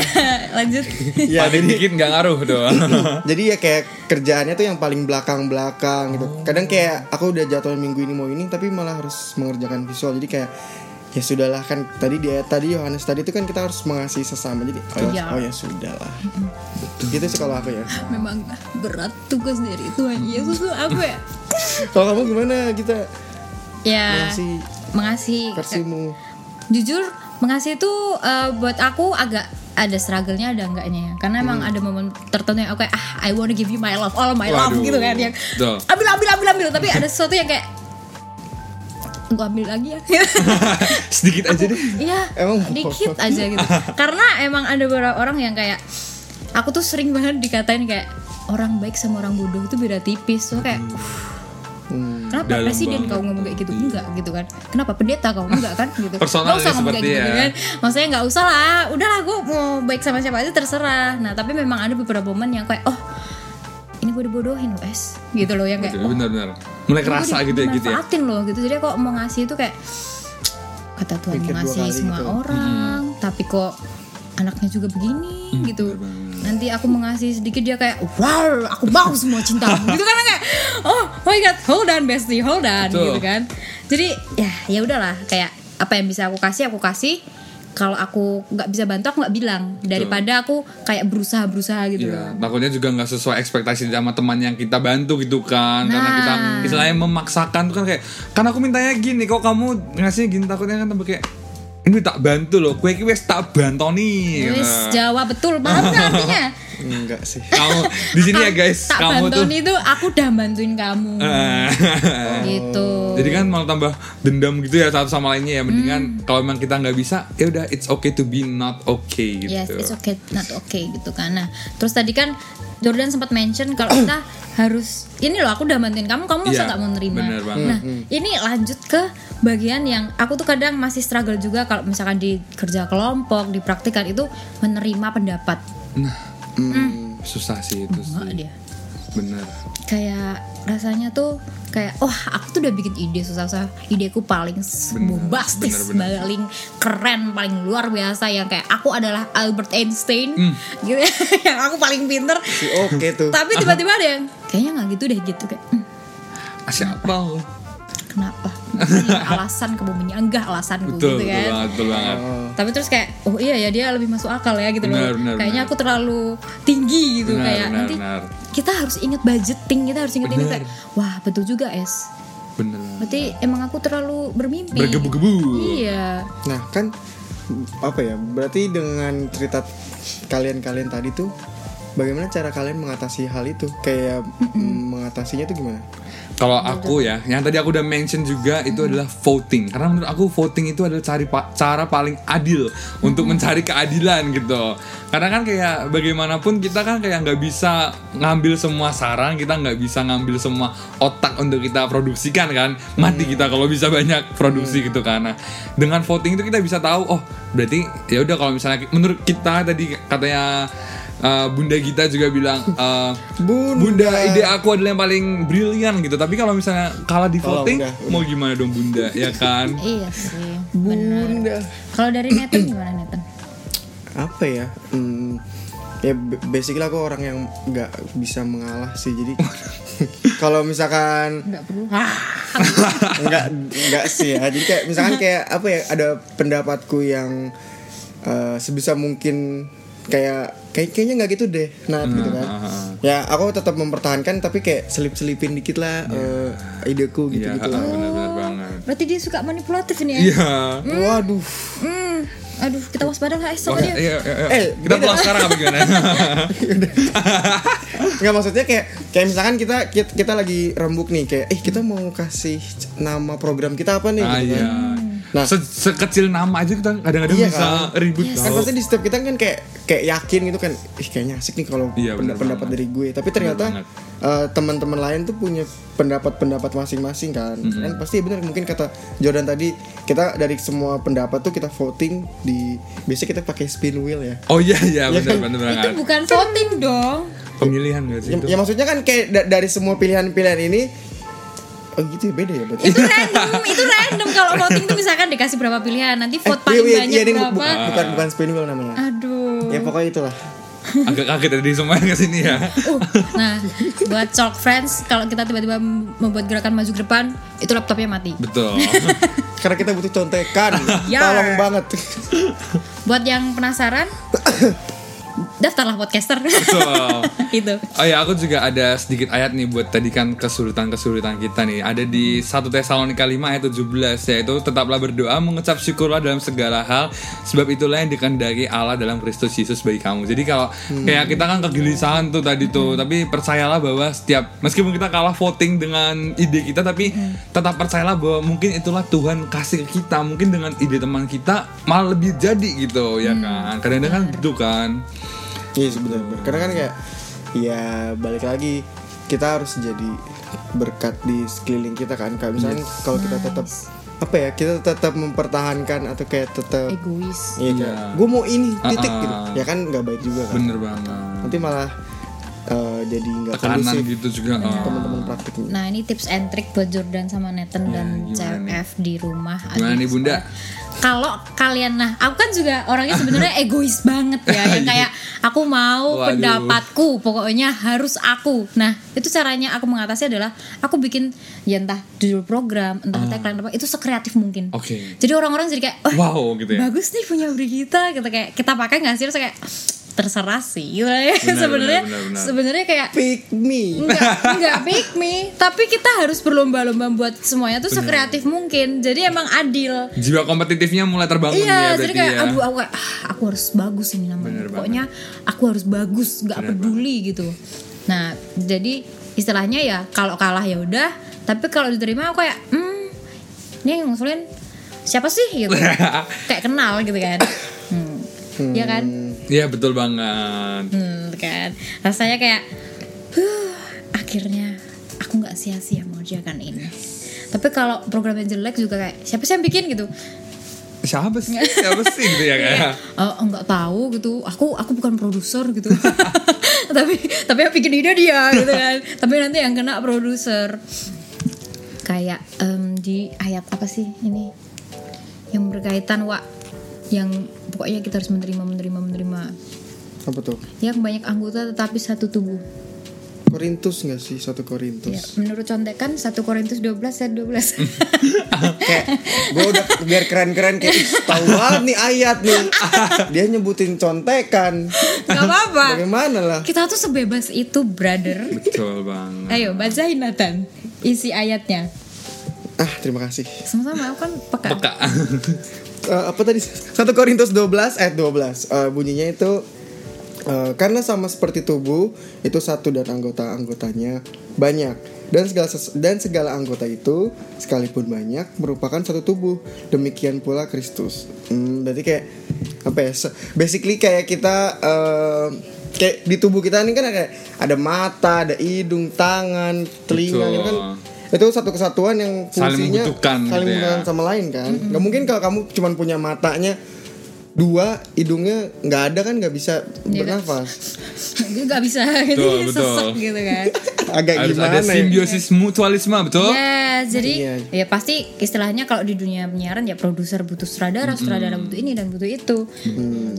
Speaker 3: lanjut.
Speaker 4: ya
Speaker 2: Paling
Speaker 4: jadi
Speaker 2: dikit nggak ngaruh doang.
Speaker 3: Iya.
Speaker 4: jadi ya kayak kerjaannya tuh yang paling belakang belakang gitu kadang kayak aku udah jadwal minggu ini mau ini tapi malah harus mengerjakan visual jadi kayak ya sudahlah kan tadi dia tadi Yohanes tadi itu kan kita harus mengasihi sesama jadi oh,
Speaker 3: Iya.
Speaker 4: oh ya sudahlah gitu sih kalau aku ya
Speaker 3: Memang berat tugas dari Tuhan Yesus tuh apa ya?
Speaker 4: kalau kamu gimana kita
Speaker 3: Ya.
Speaker 4: mengasihi
Speaker 3: Mengasihi.
Speaker 4: versimu
Speaker 3: Jujur, mengasihi itu eh, buat aku agak ada struggle-nya ada enggaknya ya. Karena emang
Speaker 2: Hmm.
Speaker 3: ada momen tertentu yang oke ah I wanna give you my love, all my love
Speaker 2: Waduh.
Speaker 3: gitu kan yang
Speaker 2: Betul.
Speaker 3: ambil ambil ambil ambil tapi ada sesuatu yang kayak gua ambil lagi ya.
Speaker 2: Sedikit aja deh.
Speaker 3: Iya,
Speaker 4: Emang mau
Speaker 3: dikit
Speaker 4: apa?
Speaker 3: aja gitu. Karena emang ada beberapa orang yang kayak aku tuh sering banget dikatain kayak orang baik sama orang bodoh itu beda tipis. So kayak "Uff,
Speaker 4: Hmm.
Speaker 3: Kenapa
Speaker 2: Dalam
Speaker 3: presiden
Speaker 2: banget.
Speaker 3: kau ngomong kayak gitu? Enggak gitu kan. Kenapa pendeta kau enggak kan gitu.
Speaker 2: Personal
Speaker 3: Nggak usah
Speaker 2: ya,
Speaker 3: ngomong kayak
Speaker 2: seperti
Speaker 3: gitu,
Speaker 2: ya.
Speaker 3: kan. Maksudnya enggak usah lah. Udahlah gue mau baik sama siapa aja terserah. Nah, tapi memang ada beberapa momen yang kayak oh ini gue dibodohin loh es gitu loh yang kayak
Speaker 2: Bener-bener. Mulai kerasa gitu ya gitu ya.
Speaker 3: Manfaatin loh gitu. Jadi kok mau ngasih itu kayak kata Tuhan mau
Speaker 4: Pikir dua
Speaker 3: ngasih
Speaker 4: kali
Speaker 3: semua
Speaker 2: ya."
Speaker 4: gitu.
Speaker 3: orang,
Speaker 2: Hmm.
Speaker 3: tapi kok anaknya juga begini gitu.
Speaker 2: bener Hmm, iya banget.
Speaker 3: Nanti aku mengasihi sedikit dia kayak wow, aku mau semua cintamu gitu kan kayak oh my god, hold on bestie, hold on
Speaker 2: Betul.
Speaker 3: gitu kan. Jadi ya ya udahlah kayak apa yang bisa aku kasih aku kasih. Kalau aku nggak bisa bantu aku nggak bilang daripada aku kayak berusaha berusaha gitu
Speaker 2: Iya,
Speaker 3: loh.
Speaker 2: takutnya juga nggak sesuai ekspektasi sama teman yang kita bantu gitu kan Karena
Speaker 3: Nah.
Speaker 2: kita istilahnya memaksakan tuh kan kayak Kan aku mintanya gini, kok kamu ngasihnya gini takutnya kan tambah kayak Ini tak bantu loh, kue kue tak Nah. bantu nih
Speaker 3: Wis jawab betul banget artinya.
Speaker 4: enggak sih
Speaker 2: Kamu di sini ya
Speaker 3: Akan
Speaker 2: guys,
Speaker 3: tak
Speaker 2: kamu tuh Ah,
Speaker 3: bantuin itu aku udah bantuin kamu gitu
Speaker 2: Jadi kan malah tambah dendam gitu ya satu sama lainnya ya
Speaker 3: Hmm.
Speaker 2: Mendingan kalau memang kita nggak bisa, ya udah it's okay to be not okay gitu
Speaker 3: yes it's okay not okay gitu kan nah terus tadi kan Jordan sempat mention kalau kita harus ini loh aku udah bantuin kamu kamu masa
Speaker 2: Iya,
Speaker 3: nggak mau nerima
Speaker 2: bener banget. Hmm,
Speaker 3: nah ini lanjut ke bagian yang aku tuh kadang masih struggle juga kalau misalkan di kerja kelompok di praktikan itu menerima pendapat
Speaker 2: Susah sih itu
Speaker 3: Nggak
Speaker 2: sih
Speaker 3: dia
Speaker 2: Bener
Speaker 3: kayak rasanya tuh kayak wah aku tuh udah bikin ide susah-susah ideku paling s-
Speaker 2: Bener,
Speaker 3: bombastis
Speaker 2: bener,
Speaker 3: paling keren paling luar biasa yang kayak aku adalah Albert Einstein
Speaker 2: Hmm.
Speaker 3: gitu yang aku paling pinter
Speaker 4: Si oke tuh
Speaker 3: tapi tiba-tiba ada yang kayaknya nggak gitu deh gitu kayak "Hmm,
Speaker 2: Ah, Siapa lo?
Speaker 3: kenapa Gitu, Ini alasan kamu menyanggah alasanku
Speaker 2: Betul, betul
Speaker 3: gitu kan
Speaker 2: banget, betul banget
Speaker 3: tapi terus kayak oh iya ya dia lebih masuk akal ya gitu
Speaker 2: Benar,
Speaker 3: loh
Speaker 2: benar,
Speaker 3: kayaknya
Speaker 2: benar.
Speaker 3: aku terlalu tinggi gitu
Speaker 2: Benar,
Speaker 3: kayak
Speaker 2: benar,
Speaker 3: nanti
Speaker 2: benar.
Speaker 3: kita harus inget budgeting kita harus inget inget
Speaker 2: Benar.
Speaker 3: kayak wah betul juga es
Speaker 2: Bener banget
Speaker 3: berarti emang aku terlalu bermimpi
Speaker 2: Bergebu-gebu.
Speaker 3: iya
Speaker 4: Nah kan apa ya? Berarti dengan cerita kalian-kalian tadi tuh, bagaimana cara kalian mengatasi hal itu? Kayak mm, mengatasinya tuh gimana?
Speaker 2: Kalau aku ya, yang tadi aku udah mention juga itu adalah voting. Karena menurut aku voting itu adalah cari pa- cara paling adil untuk mencari keadilan gitu. Karena kan kayak bagaimanapun kita kan kayak nggak bisa ngambil semua saran, kita nggak bisa ngambil semua otak untuk kita produksikan kan. Mati kita kalau bisa banyak produksi gitu karena dengan voting itu kita bisa tahu oh berarti ya udah kalau misalnya ki- menurut kita tadi katanya uh, Bunda Gita juga bilang uh, Bunda, ide aku adalah yang paling brilian gitu. Tapi kalau misalnya kalah di
Speaker 4: Tolong,
Speaker 2: voting,
Speaker 4: udah, udah.
Speaker 2: mau gimana dong Bunda, ya kan?
Speaker 3: iya sih benar
Speaker 4: Bunda.
Speaker 3: kalau dari Nathan gimana Nathan
Speaker 4: Apa ya? Hmm, ya b- basically aku orang yang nggak bisa mengalah sih. Jadi kalau misalkan
Speaker 3: nggak perlu ah,
Speaker 4: enggak enggak sih ya jadi kayak misalkan kayak apa ya ada pendapatku yang eh, sebisa mungkin kayak kayak kayaknya nggak gitu deh nah gitu
Speaker 2: Hmm,
Speaker 4: kan
Speaker 2: ah,
Speaker 4: ya aku tetap mempertahankan tapi kayak selip selipin dikit lah eh, ideku gitu
Speaker 2: Iya,
Speaker 4: gitu lah.
Speaker 2: benar-benar banget. ah,
Speaker 3: berarti dia suka manipulatif nih ya
Speaker 2: Iya.
Speaker 4: waduh
Speaker 3: Aduh, kita waspada lah esok
Speaker 2: Oke,
Speaker 3: aja.
Speaker 2: iya, iya, iya.
Speaker 4: Eh,
Speaker 2: kita
Speaker 4: beda. Gitu
Speaker 2: pulang sekarang apa gimana? Ah,
Speaker 4: Nggak maksudnya kayak kayak misalkan kita kita, kita lagi rembuk nih kayak eh kita mau kasih c- nama program kita apa nih
Speaker 2: ah
Speaker 4: gitu kan.
Speaker 2: iya.
Speaker 4: Nah.
Speaker 2: Se- sekecil nama aja kita kadang-kadang
Speaker 4: Iya,
Speaker 2: bisa
Speaker 4: kan?
Speaker 2: ribut
Speaker 4: Kan
Speaker 2: tau.
Speaker 4: pasti di setiap kita kan kayak kayak yakin gitu kan ih kayaknya asik nih kalau
Speaker 2: Iya,
Speaker 4: penda-
Speaker 2: bener
Speaker 4: pendapat
Speaker 2: banget.
Speaker 4: dari gue tapi ternyata
Speaker 2: banget.
Speaker 4: eh, teman-teman lain tuh punya pendapat-pendapat masing-masing kan kan pasti bener mungkin kata Jordan tadi kita dari semua pendapat tuh kita voting di biasanya kita pakai spin wheel ya
Speaker 2: Oh iya iya
Speaker 4: Iya,
Speaker 2: benar
Speaker 4: kan?
Speaker 2: benar
Speaker 3: Itu
Speaker 2: banget.
Speaker 3: bukan voting dong.
Speaker 2: Pemilihan gak sih
Speaker 4: ya,
Speaker 2: itu?
Speaker 4: ya maksudnya kan kayak da- dari semua pilihan-pilihan ini oh gitu ya beda ya berarti
Speaker 3: Itu random, itu random kalau voting tuh misalkan dikasih berapa pilihan, nanti vote
Speaker 4: iya,
Speaker 3: paling
Speaker 4: iya,
Speaker 3: banyak
Speaker 4: iya, ini bu-
Speaker 3: berapa.
Speaker 4: bukan bukan spin wheel namanya
Speaker 3: Aduh.
Speaker 4: ya pokoknya itulah
Speaker 2: Agak kaget tadi semuanya ke sini ya.
Speaker 3: Uh, nah, buat chalk friends, kalau kita tiba-tiba membuat gerakan maju ke depan, itu laptopnya mati.
Speaker 2: Betul.
Speaker 4: karena kita butuh contekan
Speaker 3: Ya.
Speaker 4: tolong banget
Speaker 3: Buat yang penasaran, daftarlah podcaster. Gitu.
Speaker 2: Betul.
Speaker 3: itu.
Speaker 2: Oh ya, aku juga ada sedikit ayat nih buat tadi kan kesulitan-kesulitan kita nih. Ada di 1 Tesalonika 5 ayat 17 yaitu tetaplah berdoa, mengucap syukurlah dalam segala hal sebab itulah yang dikehendaki Allah dalam Kristus Yesus bagi kamu. Jadi kalau kayak kita kan kegelisahan tuh tadi tuh, tapi percayalah bahwa setiap meskipun kita kalah voting dengan ide kita tapi tetap percayalah bahwa mungkin itulah Tuhan kasih ke kita. Mungkin dengan ide teman kita malah lebih jadi gitu ya kan. Kadang-kadang kan gitu kan.
Speaker 4: iya yes, benar benar. karena kan kayak ya balik lagi kita harus jadi berkat di sekeliling kita kan kayak misalnya kalau kita tetap apa ya kita tetap mempertahankan atau kayak tetap
Speaker 3: Egois.
Speaker 4: iya
Speaker 2: Iya.
Speaker 4: gue mau ini titik
Speaker 2: Ah, ah.
Speaker 4: gitu ya kan nggak baik juga kan
Speaker 2: Bener banget.
Speaker 4: nanti malah eh, jadi nggak
Speaker 2: tekanan
Speaker 4: kondusif
Speaker 2: gitu juga oh.
Speaker 4: teman-teman praktiknya
Speaker 3: Nah ini tips and trick buat Jordan sama Nathan dan
Speaker 2: Ya, gimana nih?
Speaker 3: CF di rumah.
Speaker 2: Gimana
Speaker 3: Aduh,
Speaker 2: nih, Bunda?
Speaker 3: sekolah. Kalau kalian nah, aku kan juga orangnya sebenarnya egois banget ya, yang kayak aku
Speaker 2: Iya.
Speaker 3: mau
Speaker 2: Waduh.
Speaker 3: pendapatku, pokoknya harus aku. Nah itu caranya aku mengatasi adalah aku bikin ya entah judul program, entah tagline apa, itu sekreatif mungkin.
Speaker 2: Ah. Oke.
Speaker 3: Jadi orang-orang jadi kayak, "Wah,
Speaker 2: wow gitu ya
Speaker 3: bagus nih punya Brigita gitu kayak kita pakai nggak sih terus kayak terserah sih gitu ya.
Speaker 2: Benar,
Speaker 3: sebenarnya
Speaker 2: benar, benar, benar.
Speaker 3: sebenarnya kayak
Speaker 4: pick me
Speaker 3: Enggak, enggak pick me Tapi kita harus berlomba-lomba buat semuanya tuh sekreatif mungkin Jadi emang adil
Speaker 2: jiwa kompetitifnya mulai terbangun ya
Speaker 3: Iya, jadi
Speaker 2: berarti
Speaker 3: kayak
Speaker 2: ya
Speaker 3: aduh aku kayak, "Ah, aku harus bagus ini namanya.
Speaker 2: Bener
Speaker 3: Pokoknya aku harus bagus, nggak
Speaker 2: Bener
Speaker 3: peduli gitu. Nah, jadi istilahnya ya kalau kalah ya udah, tapi kalau diterima aku kayak hmm ini yang ngusulin siapa sih gitu. kayak kenal gitu kan. Hmm. Iya kan?
Speaker 2: iya betul banget
Speaker 3: Hmm, kan. Rasanya kayak huh, akhirnya aku nggak sia-sia mengerjakan ini. Tapi kalau programnya jelek juga kayak siapa sih yang bikin gitu?
Speaker 2: siapa sih siapa sih gitu ya kayak
Speaker 3: Eh, nggak tahu gitu aku aku bukan produser gitu tapi tapi yang bikin ide dia gitu kan tapi nanti yang kena produser kayak em, di ayat apa sih ini yang berkaitan wa yang pokoknya kita harus menerima menerima menerima
Speaker 4: apa tuh
Speaker 3: yang banyak anggota tetapi satu tubuh
Speaker 4: Korintus nggak sih satu
Speaker 3: Ya,
Speaker 4: Korintus
Speaker 3: menurut contekan 1 Korintus 12 ayat 12
Speaker 4: kayak gue udah biar keren-keren kayak "Ih, tahu banget nih ayat nih dia nyebutin contekan
Speaker 3: Gak apa-apa
Speaker 4: bagaimana lah
Speaker 3: Kita tuh sebebas itu brother
Speaker 2: betul banget
Speaker 3: Ayo bacain Nathan Isi ayatnya
Speaker 4: ah terima kasih
Speaker 3: Sama-sama aku kan peka.
Speaker 2: peka
Speaker 4: Eh, apa tadi satu Korintus 12 ayat 12 Eh, bunyinya itu eh, karena sama seperti tubuh itu satu dan anggota-anggotanya banyak dan segala ses- dan segala anggota itu sekalipun banyak merupakan satu tubuh demikian pula Kristus hmm, berarti kayak apa ya se- basically kayak kita eh, kayak di tubuh kita ini kan ada ada mata ada hidung tangan telinga gitu kan
Speaker 2: Betul.
Speaker 4: itu satu kesatuan yang fungsinya
Speaker 2: Saling membutuhkan gitu
Speaker 4: saling
Speaker 2: ya.
Speaker 4: membutuhkan sama lain kan nggak mungkin kalau kamu cuman punya matanya dua hidungnya nggak ada kan nggak bisa
Speaker 3: Iya kan?
Speaker 4: bernafas
Speaker 3: Gue gak bisa jadi
Speaker 2: Betul, betul.
Speaker 3: sesek gitu kan
Speaker 4: agak
Speaker 2: harus
Speaker 4: gimana
Speaker 2: ada
Speaker 4: ya?
Speaker 2: simbiosis mutualisme betul
Speaker 3: Ya jadi
Speaker 4: Iya.
Speaker 3: ya pasti istilahnya kalau di dunia penyiaran ya produser butuh sutradara
Speaker 2: Hmm.
Speaker 3: Sutradara butuh ini dan butuh itu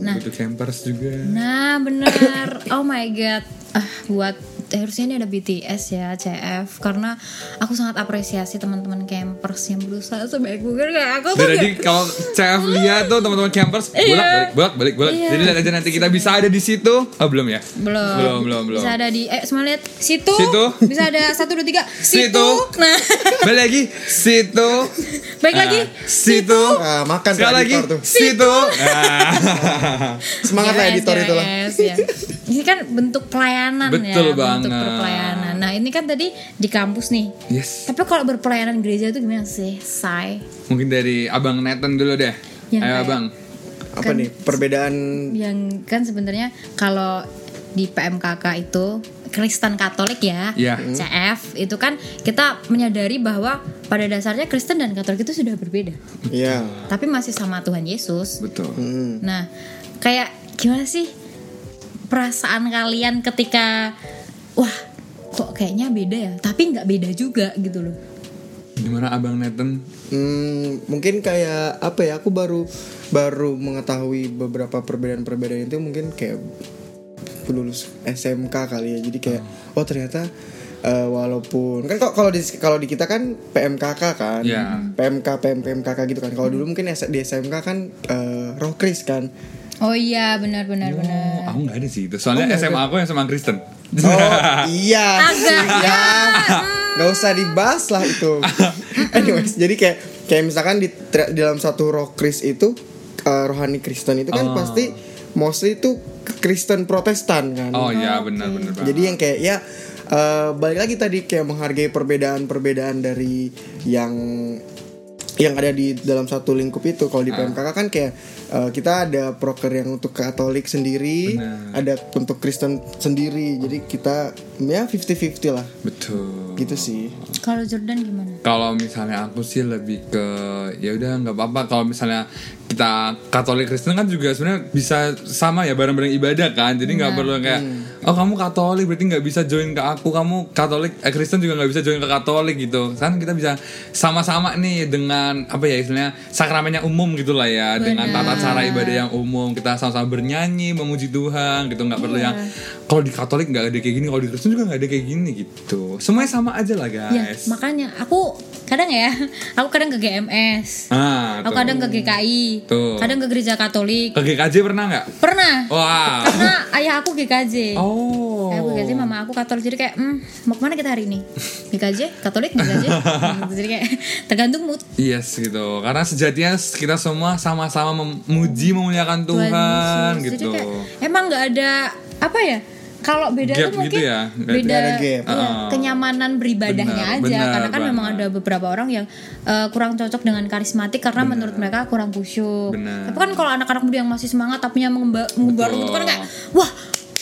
Speaker 3: Nah
Speaker 2: butuh campers juga
Speaker 3: nah bener oh my god ah buat eh, harusnya ini ada BTS ya CF karena aku sangat apresiasi teman-teman campers yang berusaha sebaik mungkin kayak aku tuh
Speaker 2: Dan jadi
Speaker 3: kayak-
Speaker 2: kalau CF lihat tuh teman-teman campers bolak balik bolak balik bolak.
Speaker 3: Iya.
Speaker 2: Jadi lihat aja nanti kita bisa ada di situ. Oh, belum ya?
Speaker 3: belum
Speaker 2: Belum belum belum.
Speaker 3: bisa ada di eh semua lihat situ,
Speaker 2: Situ.
Speaker 3: bisa ada satu dua tiga situ,
Speaker 2: Situ.
Speaker 3: nah
Speaker 2: Balik lagi situ.
Speaker 3: baik
Speaker 2: Ah,
Speaker 3: lagi
Speaker 2: situ.
Speaker 4: Ah, makan tuh
Speaker 2: Sekali lagi
Speaker 4: editor tuh.
Speaker 2: situ. Ah,
Speaker 4: Semangat lah
Speaker 3: Yes,
Speaker 4: editor
Speaker 3: yes,
Speaker 4: itu lah.
Speaker 3: yes, ya. Ini kan bentuk pelayanan ya,
Speaker 2: Betul
Speaker 3: bentuk
Speaker 2: banget.
Speaker 3: perpelayanan. Nah, ini kan tadi di kampus nih.
Speaker 2: Yes.
Speaker 3: Tapi kalau berpelayanan gereja itu gimana sih, Say?
Speaker 2: Mungkin dari Abang Nathan dulu deh.
Speaker 3: Yang
Speaker 2: Ya, Ayo
Speaker 3: kayak-
Speaker 2: Abang.
Speaker 4: Apa nih? Perbedaan
Speaker 3: Yang kan sebenarnya kalau di PMKK itu Kristen Katolik ya,
Speaker 2: Iya.
Speaker 3: CF itu kan kita menyadari bahwa pada dasarnya Kristen dan Katolik itu sudah berbeda,
Speaker 4: ya.
Speaker 3: tapi masih sama Tuhan Yesus.
Speaker 2: Betul.
Speaker 4: Hmm.
Speaker 3: Nah, kayak gimana sih perasaan kalian ketika wah kok kayaknya beda ya, tapi nggak beda juga gitu loh.
Speaker 2: Gimana Abang Nathan?
Speaker 4: Hmm, mungkin kayak apa ya? Aku baru baru mengetahui beberapa perbedaan-perbedaan itu mungkin kayak lulus SMK kali ya. Jadi kayak oh ternyata eh, walaupun kan kok kalau di kalau di kita kan PMKK kan.
Speaker 2: Iya.
Speaker 4: PMK PM PMKK gitu kan. Kalau dulu mungkin S- di SMK kan eh, Rokris kan.
Speaker 3: Oh iya benar benar benar.
Speaker 2: Oh, aku nggak ada sih itu. Soalnya SMA aku yang SMA Kristen.
Speaker 4: Oh iya sih
Speaker 3: Agak.
Speaker 4: ya Gak usah dibahas lah itu Anyways jadi kayak Kayak misalkan di, tra- di dalam satu rokris itu eh, Rohani Kristen itu
Speaker 2: Oh.
Speaker 4: kan pasti Mostly itu Kristen protestan kan
Speaker 2: Oh iya benar benar banget.
Speaker 4: Jadi yang kayak ya eh, Balik lagi tadi kayak menghargai perbedaan-perbedaan dari Yang yang ada di dalam satu lingkup itu kalau di PMKK kan kayak eh, kita ada proker yang untuk Katolik sendiri, ada untuk Kristen sendiri. Jadi kita ya 50-50 lah.
Speaker 2: betul.
Speaker 4: Gitu sih.
Speaker 3: Kalau Jordan gimana?
Speaker 2: Kalau misalnya aku sih lebih ke ya udah nggak apa-apa kalau misalnya kita Katolik Kristen kan juga sebenarnya bisa sama ya bareng-bareng ibadah kan. Jadi nggak perlu kayak oh kamu Katolik berarti nggak bisa join ke aku, kamu Katolik eh, Kristen juga nggak bisa join ke Katolik gitu. Kan kita bisa sama-sama nih dengan apa ya istilahnya sakramennya umum gitu lah ya, dengan tata cara ibadah yang umum. Kita sama-sama bernyanyi, memuji Tuhan gitu, nggak perlu yang kalau di Katolik nggak ada kayak gini, kalau di Kristen juga nggak ada kayak gini gitu. Semuanya sama aja lah
Speaker 3: Ya
Speaker 2: guys.
Speaker 3: makanya aku kadang ya, aku kadang ke GMS,
Speaker 2: Ah,
Speaker 3: aku
Speaker 2: tuh.
Speaker 3: kadang ke GKI,
Speaker 2: Tuh.
Speaker 3: kadang ke gereja Katolik.
Speaker 2: Ke GKJ pernah nggak?
Speaker 3: Pernah,
Speaker 2: Wah.
Speaker 3: karena ayah aku GKJ.
Speaker 2: Oh.
Speaker 3: Aku gaji mama aku Katolik jadi kayak hmm, mau kemana kita hari ini? GKJ, Katolik, GKJ. Hmm, jadi kayak tergantung mood.
Speaker 2: Yes gitu. Karena sejatinya kita semua sama-sama memuji memuliakan Tuhan
Speaker 3: Yesus.
Speaker 2: gitu.
Speaker 3: Jadi kayak emang nggak ada apa ya? Kalau beda
Speaker 2: Gap
Speaker 3: tuh mungkin
Speaker 2: gitu ya, nggak- Ah.
Speaker 3: beda
Speaker 4: nggak ada gap.
Speaker 3: iya, kenyamanan beribadahnya
Speaker 2: Benar,
Speaker 3: aja
Speaker 2: benar
Speaker 3: karena kan
Speaker 2: banget.
Speaker 3: memang ada beberapa orang yang eh, kurang cocok dengan karismatik karena menurut mereka kurang khusyuk.
Speaker 2: Benar.
Speaker 3: Tapi kan kalau anak-anak muda yang masih semangat tapi yang mengemba- mengubar
Speaker 2: Betul.
Speaker 3: itu kan kayak wah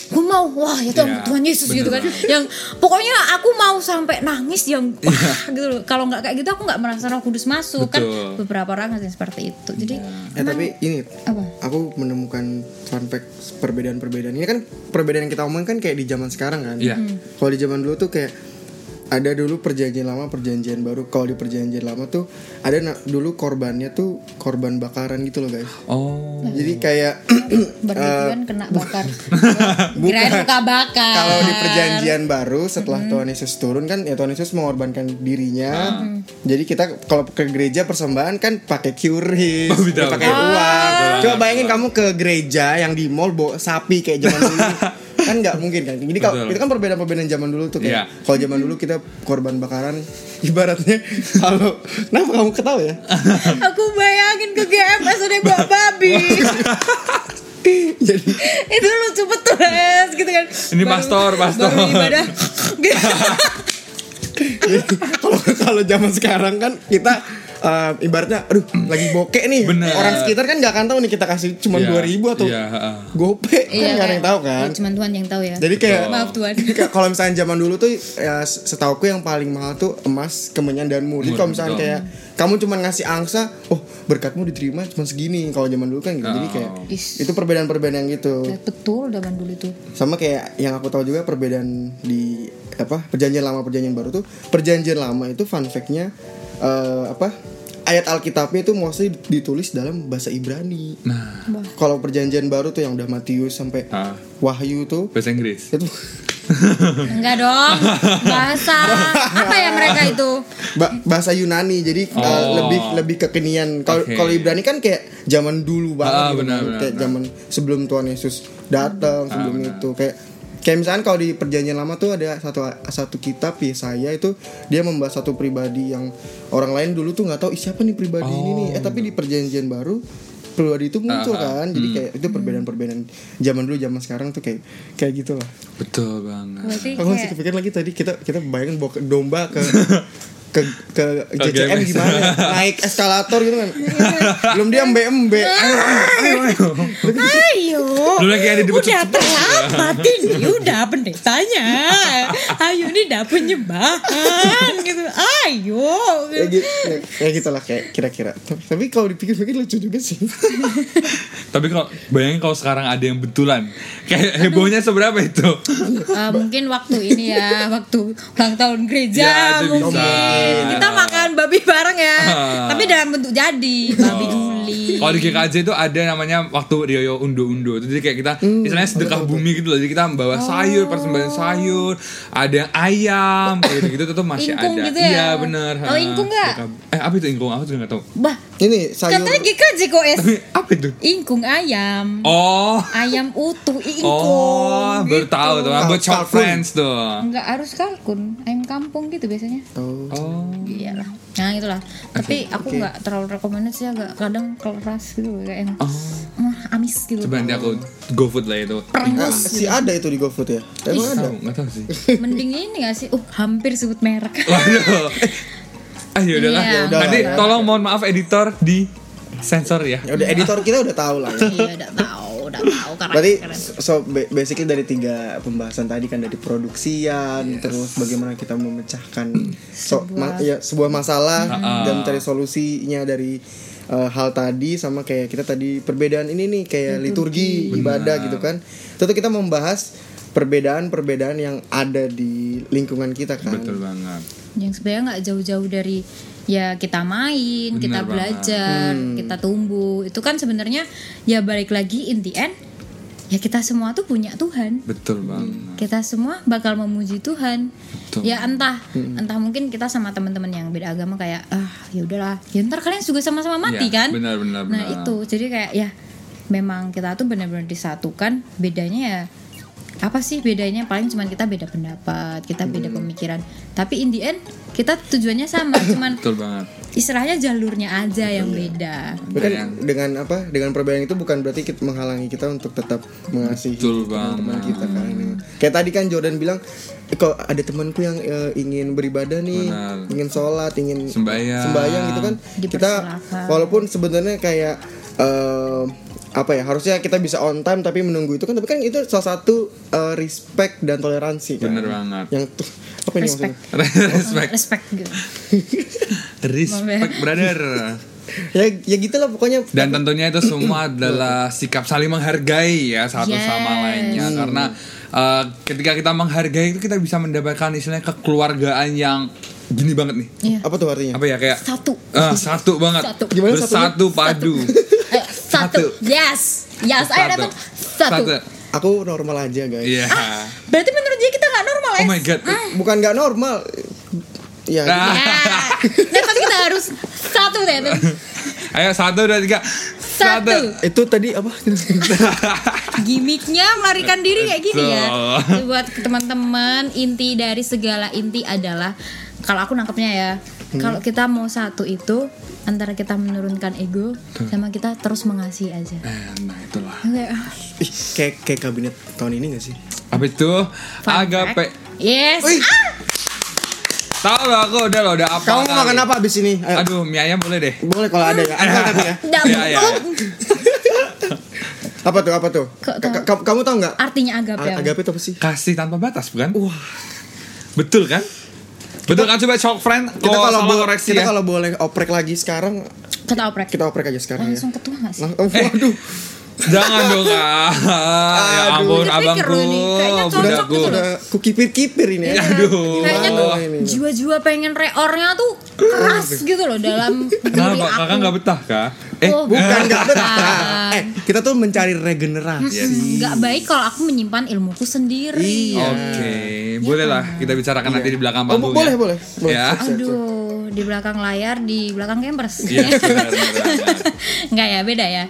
Speaker 3: gue mau wah ya Tuhan,
Speaker 2: Iya,
Speaker 3: Tuhan
Speaker 2: benar
Speaker 3: Yesus
Speaker 2: Iya.
Speaker 3: gitu kan
Speaker 2: banget.
Speaker 3: yang pokoknya aku mau sampai nangis yang wah, gitu loh kalau nggak kayak gitu aku nggak merasa Roh Kudus masuk
Speaker 2: Betul.
Speaker 3: kan beberapa orang ngasih seperti itu jadi
Speaker 4: Eh tapi ini
Speaker 3: Apa?
Speaker 4: aku menemukan fun fact perbedaan-perbedaan. Ini kan perbedaan yang kita omongin kan kayak di zaman sekarang kan.
Speaker 2: Iya. Hmm.
Speaker 4: Kalau di zaman dulu tuh kayak ada dulu perjanjian lama, perjanjian baru. Kalau di perjanjian lama tuh ada na- dulu korbannya tuh korban bakaran gitu loh guys.
Speaker 2: Oh.
Speaker 4: Jadi kayak
Speaker 3: berlebihan kena bakar kirain muka bakar
Speaker 4: Kalau di perjanjian baru setelah Tuhan Yesus turun kan ya Tuhan Yesus mengorbankan dirinya. Jadi kita kalau ke gereja persembahan kan pakai QRIS,
Speaker 2: Oh, beda,
Speaker 4: pakai
Speaker 2: beda.
Speaker 4: uang.
Speaker 2: Ah.
Speaker 4: Coba bayangin kamu ke gereja yang di mall bawa sapi kayak zaman dulu. kan nggak mungkin kan. Jadi kalau
Speaker 2: Betul.
Speaker 4: itu kan perbedaan-perbedaan zaman dulu tuh kayak
Speaker 2: Iya.
Speaker 4: kalau zaman dulu kita korban bakaran ibaratnya kalau kenapa kamu ketawa ya?
Speaker 3: aku bayangin ke GMS udah bawa babi
Speaker 4: Jadi
Speaker 3: itu lucu betul gitu kan
Speaker 2: Ini
Speaker 3: Baru-
Speaker 2: pastor, pastor.
Speaker 3: baru ibadah gitu.
Speaker 4: Jadi, kalau kalau zaman sekarang kan kita eh, ibaratnya aduh lagi bokek nih
Speaker 2: Bener.
Speaker 4: orang sekitar kan nggak akan tahu nih kita kasih cuma
Speaker 2: Iya,
Speaker 4: dua ribu atau
Speaker 2: iya, heeh.
Speaker 4: gope kan nggak ada yang tahu kan
Speaker 3: Ya, cuman Tuhan yang tahu ya
Speaker 4: jadi kayak
Speaker 3: maaf Tuhan
Speaker 4: jadi kayak kalau misalnya zaman dulu tuh ya, setauku yang paling mahal tuh emas kemenyan dan
Speaker 2: Murni,
Speaker 4: murni kalau misalnya
Speaker 2: betul.
Speaker 4: kayak kamu cuma ngasih angsa oh berkatmu diterima cuma segini kalau zaman dulu kan gitu jadi kayak
Speaker 2: Oh.
Speaker 3: Is.
Speaker 4: itu perbedaan-perbedaan gitu
Speaker 3: betul zaman dulu itu
Speaker 4: sama kayak yang aku tahu juga perbedaan di apa perjanjian lama perjanjian baru tuh perjanjian lama itu fun fact-nya eh, apa ayat Alkitabnya itu mostly ditulis dalam bahasa Ibrani.
Speaker 2: Nah,
Speaker 4: Kalau perjanjian baru tuh yang udah Matius sampai
Speaker 2: Ah.
Speaker 4: Wahyu tuh
Speaker 2: bahasa Inggris.
Speaker 4: itu
Speaker 3: Enggak dong. Bahasa apa ya mereka itu?
Speaker 4: Ba- bahasa Yunani jadi uh,
Speaker 2: Oh.
Speaker 4: lebih lebih kekinian kalau
Speaker 2: Oke.
Speaker 4: kalau Ibrani kan kayak zaman dulu banget
Speaker 2: Ah,
Speaker 4: gitu
Speaker 2: benar,
Speaker 4: kan.
Speaker 2: benar, benar.
Speaker 4: kayak
Speaker 2: Ah,
Speaker 4: zaman sebelum Tuhan Yesus datang sebelum itu kayak kayak misalkan kalau di perjanjian lama tuh ada satu satu kitab Yesaya itu dia membahas satu pribadi yang orang lain dulu tuh nggak tahu "Ih, siapa nih pribadi ini nih eh
Speaker 2: Oh.
Speaker 4: tapi di perjanjian baru pribadi itu muncul
Speaker 2: Ah,
Speaker 4: kan
Speaker 2: Hmm.
Speaker 4: jadi kayak itu perbedaan-perbedaan zaman dulu zaman sekarang tuh kayak kayak gitu lah
Speaker 2: Betul banget.
Speaker 3: Berarti
Speaker 4: Aku masih
Speaker 3: kayak-
Speaker 4: kepikiran lagi tadi kita kita bayangin bawa ke domba ke ke ke JCM
Speaker 2: GMS.
Speaker 4: gimana naik eskalator gitu kan belum dia embe embe
Speaker 3: Ayo.
Speaker 2: Lu lagi ada di
Speaker 3: Udah terlambat ini udah pendetanya. Ayo ini udah penyembahan gitu. Ayo.
Speaker 4: ya gitu ya gitu lah kayak kira-kira tapi, tapi kalau dipikir-pikir lucu juga sih
Speaker 2: Tapi kalau bayangin kalau sekarang ada yang betulan, kayak hebohnya seberapa itu?
Speaker 3: Eh, mungkin waktu ini ya, waktu ulang tahun gereja
Speaker 2: Ya, itu bisa.
Speaker 3: mungkin kita makan babi bareng ya.
Speaker 2: Ah. Oh.
Speaker 3: Tapi dalam bentuk jadi babi guli.
Speaker 2: Kalau di GKJ itu ada namanya waktu Rioyo undo-undo. Jadi kayak kita
Speaker 3: Hmm.
Speaker 2: misalnya sedekah bumi gitu loh. Jadi kita
Speaker 3: Oh.
Speaker 2: membawa sayur, persembahan sayur, ada yang ayam, kayak gitu, gitu tuh masih
Speaker 3: Ingkung
Speaker 2: ada.
Speaker 3: gitu ya?
Speaker 2: Iya, bener.
Speaker 3: Kalau
Speaker 2: Ha,
Speaker 3: ingkung nggak?
Speaker 2: sedekah- Eh, apa itu ingkung? Aku juga nggak tahu.
Speaker 3: Bah,
Speaker 4: ini sayur
Speaker 3: katanya gitu. GKJ kok es.
Speaker 2: Tapi apa itu?
Speaker 3: Ingkung ayam.
Speaker 2: Oh.
Speaker 3: Ayam utuh i- ingkung.
Speaker 2: Oh, baru
Speaker 3: gitu.
Speaker 2: tahu tuh. Buat short
Speaker 4: Kalkun.
Speaker 2: friends tuh.
Speaker 3: Nggak harus kalkun, ayam kampung gitu biasanya.
Speaker 4: Oh.
Speaker 2: Oh.
Speaker 3: Iyalah. Nah, itulah. Tapi aku nggak terlalu recommended sih agak kadang keras gitu kayak yang ah, amis gitu.
Speaker 2: Oh. Coba nanti aku go food lah itu.
Speaker 4: Ah, si ada itu di GoFood ya emang ada
Speaker 2: Tahu, nggak tahu sih.
Speaker 3: Mending ini gak sih? Uh, hampir sebut merek.
Speaker 2: Waduh. Ah, ya udahlah.
Speaker 3: Iya.
Speaker 4: Yaudahlah,
Speaker 2: Nanti
Speaker 4: ya.
Speaker 2: tolong mohon maaf editor di sensor ya.
Speaker 4: ya udah editor kita udah tahu lah ya.
Speaker 3: iya, udah tahu, udah tahu karena
Speaker 4: Berarti
Speaker 3: keren.
Speaker 4: so ba- basically dari tiga pembahasan tadi kan dari produksian terus bagaimana kita memecahkan so- ma- ya, sebuah masalah dan mencari solusinya dari uh, hal tadi sama kayak kita tadi perbedaan ini nih kayak liturgi, ibadah gitu kan. Tentu kita membahas perbedaan-perbedaan yang ada di lingkungan kita kan.
Speaker 2: Betul banget.
Speaker 3: yang sebenarnya nggak jauh-jauh dari ya kita main,
Speaker 2: Benar
Speaker 3: kita
Speaker 2: banget.
Speaker 3: belajar, kita tumbuh. Itu kan sebenarnya ya balik lagi in the end ya kita semua tuh punya Tuhan.
Speaker 2: Betul banget.
Speaker 3: Kita semua bakal memuji Tuhan.
Speaker 2: Betul.
Speaker 3: Ya entah, entah mungkin kita sama teman-teman yang beda agama kayak ah ya udahlah. Ya ntar kalian juga sama-sama mati
Speaker 2: Iya,
Speaker 3: kan?
Speaker 2: benar, benar,
Speaker 3: Nah,
Speaker 2: benar.
Speaker 3: itu. Jadi kayak ya memang kita tuh benar-benar disatukan. Bedanya ya apa sih bedanya? Paling cuman kita beda pendapat, kita beda pemikiran. Tapi in the end kita tujuannya sama, cuman
Speaker 2: Betul banget.
Speaker 3: istilahnya jalurnya aja yang beda.
Speaker 4: Bukan
Speaker 2: Ada yang-
Speaker 4: Kan dengan apa? Dengan perbedaan itu bukan berarti kita menghalangi kita untuk tetap mengasihi
Speaker 2: Betul
Speaker 4: teman
Speaker 2: banget.
Speaker 4: kita kan. Kayak tadi kan Jordan bilang kalau ada temanku yang eh, ingin beribadah nih,
Speaker 2: Benar.
Speaker 4: ingin sholat, ingin
Speaker 2: Sembayang.
Speaker 4: sembayang gitu kan. Kita
Speaker 3: Dipersilakan.
Speaker 4: walaupun sebenarnya kayak eh, apa ya harusnya kita bisa on time tapi menunggu itu kan tapi kan itu salah satu eh, respect dan toleransi kan.
Speaker 2: Bener banget.
Speaker 4: Yang tuh apa ini
Speaker 3: Respect.
Speaker 4: maksudnya?
Speaker 2: Respect.
Speaker 3: Respect gitu.
Speaker 2: Respect, brother.
Speaker 4: Ya ya gitulah pokoknya
Speaker 2: Dan tentunya itu semua adalah sikap saling menghargai ya satu
Speaker 3: Yes.
Speaker 2: sama lainnya karena eh, ketika kita menghargai itu kita bisa mendapatkan istilahnya kekeluargaan yang gini banget nih.
Speaker 3: Iya.
Speaker 4: apa tuh artinya?
Speaker 2: Apa ya kayak
Speaker 3: Satu.
Speaker 2: eh, satu banget.
Speaker 3: Satu.
Speaker 4: Gimana
Speaker 2: Bersatu padu.
Speaker 3: Eh, satu.
Speaker 2: Satu.
Speaker 3: Yes. Yes, ayo dapat satu. Ah,
Speaker 4: Aku normal aja guys.
Speaker 2: Iya.
Speaker 3: Berarti menurut dia kita nggak normal ya?
Speaker 2: Oh my god.
Speaker 4: bukan nggak normal ya
Speaker 2: Nah.
Speaker 3: Ya. Nah, tapi kita harus satu deh. tuh.
Speaker 2: Ayo satu dua tiga.
Speaker 3: Satu.
Speaker 4: itu tadi apa
Speaker 3: Gimiknya melarikan diri kayak gini ya.
Speaker 2: Betul.
Speaker 3: Buat teman-teman, inti dari segala inti adalah kalau aku nangkepnya ya,
Speaker 2: Hmm.
Speaker 3: kalau kita mau satu itu antara kita menurunkan ego sama kita terus mengasihi aja.
Speaker 2: Eh, Nah itulah.
Speaker 3: Kayak, ah,
Speaker 4: Ih, kayak kayak kabinet tahun ini gak sih
Speaker 2: Apa itu?
Speaker 3: fun
Speaker 2: Agape.
Speaker 3: fact. Yes.
Speaker 4: Wih.
Speaker 3: Ah,
Speaker 2: Tahu gak aku udah loh udah apa?
Speaker 4: kamu mau
Speaker 2: kali.
Speaker 4: makan apa abis ini Ayo.
Speaker 2: Aduh, mie ayam boleh deh.
Speaker 4: boleh kalau ada ya Ada tapi ya
Speaker 3: nggak
Speaker 2: Ya, ya,
Speaker 3: mau.
Speaker 4: apa tuh apa tuh
Speaker 3: Kok
Speaker 4: Ka- ka- kamu tahu nggak
Speaker 3: Artinya agape.
Speaker 4: A-
Speaker 3: apa? ya?
Speaker 4: agape itu apa sih
Speaker 2: Kasih tanpa batas bukan? Wah. Betul kan? Betul kan coba shock friend
Speaker 4: kita kalau
Speaker 2: salah
Speaker 4: bo-
Speaker 2: koreksi
Speaker 4: kita
Speaker 2: ya.
Speaker 4: kalau boleh oprek lagi sekarang
Speaker 3: Kita oprek.
Speaker 4: kita oprek aja sekarang ya
Speaker 3: Langsung ketua nggak sih?
Speaker 4: Lang- oh, waduh
Speaker 2: Jangan dong kak. ya ampun
Speaker 4: Aduh.
Speaker 3: Pikir-pikir
Speaker 2: abangku.
Speaker 3: loh ini, kayaknya cocok
Speaker 2: budakku.
Speaker 3: gitu loh.
Speaker 4: Udah kukipir-kipir ini.
Speaker 2: Ya,
Speaker 4: ya.
Speaker 2: Aduh.
Speaker 3: Iya, Kayaknya tuh
Speaker 4: Wah, ini.
Speaker 3: jiwa-jiwa pengen reornya tuh keras gitu loh dalam diri
Speaker 2: Kenapa kakak
Speaker 3: aku. Hmm,
Speaker 2: nggak betah kak? Eh
Speaker 3: Oh,
Speaker 4: Bukan nggak betah.
Speaker 3: Bukan.
Speaker 4: Eh, kita tuh mencari regenerasi.
Speaker 2: ya?
Speaker 3: Mm-mm, nggak baik kalau aku menyimpan ilmuku sendiri.
Speaker 4: Iya.
Speaker 2: Oke, bolehlah
Speaker 3: Iya.
Speaker 2: kita bicarakan nanti di belakang
Speaker 4: Oh,
Speaker 2: panggung.
Speaker 4: boleh,
Speaker 2: ya.
Speaker 4: boleh, boleh.
Speaker 2: Ya.
Speaker 3: Aduh, di belakang layar, di belakang campers.
Speaker 2: Iya, benar, benar, benar.
Speaker 3: Nggak ya, beda ya.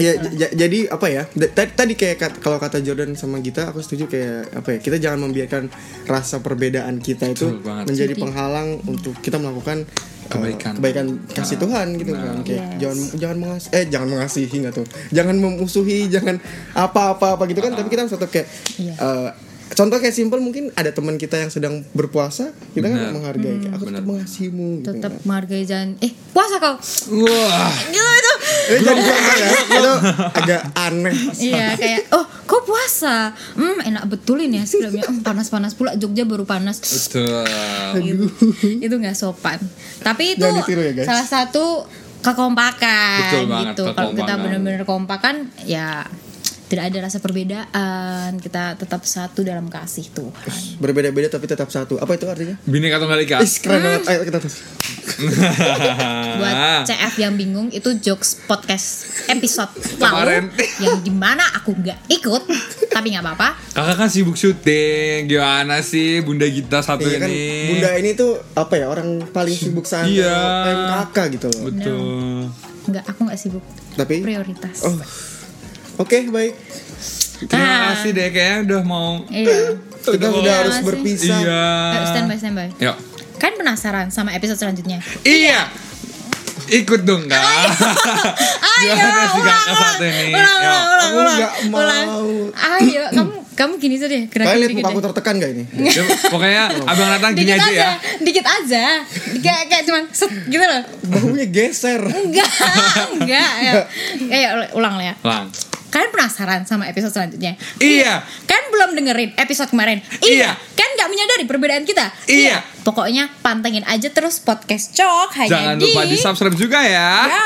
Speaker 4: Ya, ja- jadi apa ya? Da- ta- Tadi kayak kat- kalau kata Jordan sama Gita, aku setuju kayak apa ya? Kita jangan membiarkan rasa perbedaan kita itu
Speaker 2: Betul banget.
Speaker 4: menjadi penghalang untuk kita melakukan uh,
Speaker 2: Kebaikan. Nah.
Speaker 4: kebaikan kasih Tuhan gitu kan. Kayak jangan jangan mengas eh jangan mengasihi nggak tuh. Jangan memusuhi, jangan apa-apa apa gitu kan. Tapi kita harus tetap kayak
Speaker 3: Iya.
Speaker 4: uh, Contoh kayak simpel mungkin ada teman kita yang sedang berpuasa, kita
Speaker 2: Benar.
Speaker 4: kan menghargai. kayak, aku tetap mengasihimu gitu.
Speaker 3: Tetap
Speaker 2: Iya.
Speaker 3: menghargai jalan. Eh, puasa kau.
Speaker 2: Wah,
Speaker 3: Gila itu.
Speaker 4: Eh, jadi puasa ya. Itu agak aneh.
Speaker 3: Iya kayak oh kok puasa hmm enak betul ini ya sebelumnya hmm, panas panas pula Jogja baru panas
Speaker 2: betul.
Speaker 3: Gitu. itu nggak sopan tapi itu
Speaker 4: Jangan ditiru ya, guys.
Speaker 3: salah satu kekompakan
Speaker 2: Betul banget,
Speaker 3: gitu kalau kita
Speaker 2: kekompakan.
Speaker 3: benar-benar kompakan ya tidak ada rasa perbedaan kita tetap satu dalam kasih Tuhan
Speaker 4: Berbeda-beda tapi tetap satu. Apa itu artinya?
Speaker 2: Bineka tunggal ika.
Speaker 4: Ih, keren banget.
Speaker 2: Ah.
Speaker 4: Ayo kita terus.
Speaker 3: buat CF yang bingung itu jokes podcast episode
Speaker 2: Kemarin.
Speaker 3: lalu yang dimana aku nggak ikut tapi nggak apa-apa
Speaker 2: Kakak kan sibuk syuting, gimana sih Bunda Gita satu
Speaker 4: Iya kan,
Speaker 2: ini?
Speaker 4: Bunda ini tuh apa ya orang paling sibuk saat
Speaker 2: Iya.
Speaker 4: MKK gitu loh.
Speaker 2: Betul.
Speaker 3: nggak aku nggak sibuk
Speaker 4: Tapi
Speaker 3: prioritas
Speaker 4: Oh. Oke, baik.
Speaker 2: Terima
Speaker 3: Ah.
Speaker 2: kasih deh, kayaknya udah mau.
Speaker 3: Iya.
Speaker 4: Kita
Speaker 2: mau-
Speaker 4: sudah harus
Speaker 3: sih.
Speaker 4: berpisah.
Speaker 2: Iya.
Speaker 3: Ayo, standby, standby.
Speaker 2: Yuk.
Speaker 3: Kan penasaran sama episode selanjutnya?
Speaker 2: Iya. Ikut dong kak.
Speaker 3: Oh, Ayo,
Speaker 2: Gimana sih, Kak,
Speaker 3: ulang,
Speaker 2: ke
Speaker 3: ulang,
Speaker 2: satu ini?
Speaker 3: ulang,
Speaker 2: Yuk.
Speaker 3: ulang, ulang,
Speaker 4: Aku
Speaker 3: ulang,
Speaker 4: nggak mau.
Speaker 3: ulang. Ayo, kamu, kamu gini saja deh,
Speaker 4: Kalian
Speaker 3: gerakin
Speaker 4: lihat
Speaker 3: dikit
Speaker 4: muka aku
Speaker 3: deh.
Speaker 4: tertekan gak ini?
Speaker 2: Ya, Pokoknya Abang Nathan gini
Speaker 3: Dikit
Speaker 2: aja
Speaker 3: iya. aja,
Speaker 2: ya.
Speaker 3: dikit aja. Kayak kayak cuman set gitu loh.
Speaker 4: Bahunya geser.
Speaker 3: Enggak, enggak. Ayo, ayo ulang lah ya.
Speaker 2: Lang.
Speaker 3: Kalian penasaran sama episode selanjutnya?
Speaker 2: Iya.
Speaker 3: Kan belum dengerin episode kemarin.
Speaker 2: Iya.
Speaker 3: Kan nggak menyadari perbedaan kita.
Speaker 2: Iya.
Speaker 3: Pokoknya pantengin aja terus podcast Cok hanya
Speaker 2: Jangan
Speaker 3: di.
Speaker 2: lupa di subscribe juga ya.
Speaker 3: Bye.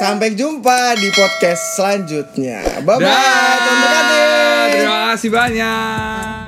Speaker 4: Sampai jumpa di podcast selanjutnya. Bye bye.
Speaker 2: Dah.
Speaker 4: Terima kasih.
Speaker 2: Terima kasih banyak.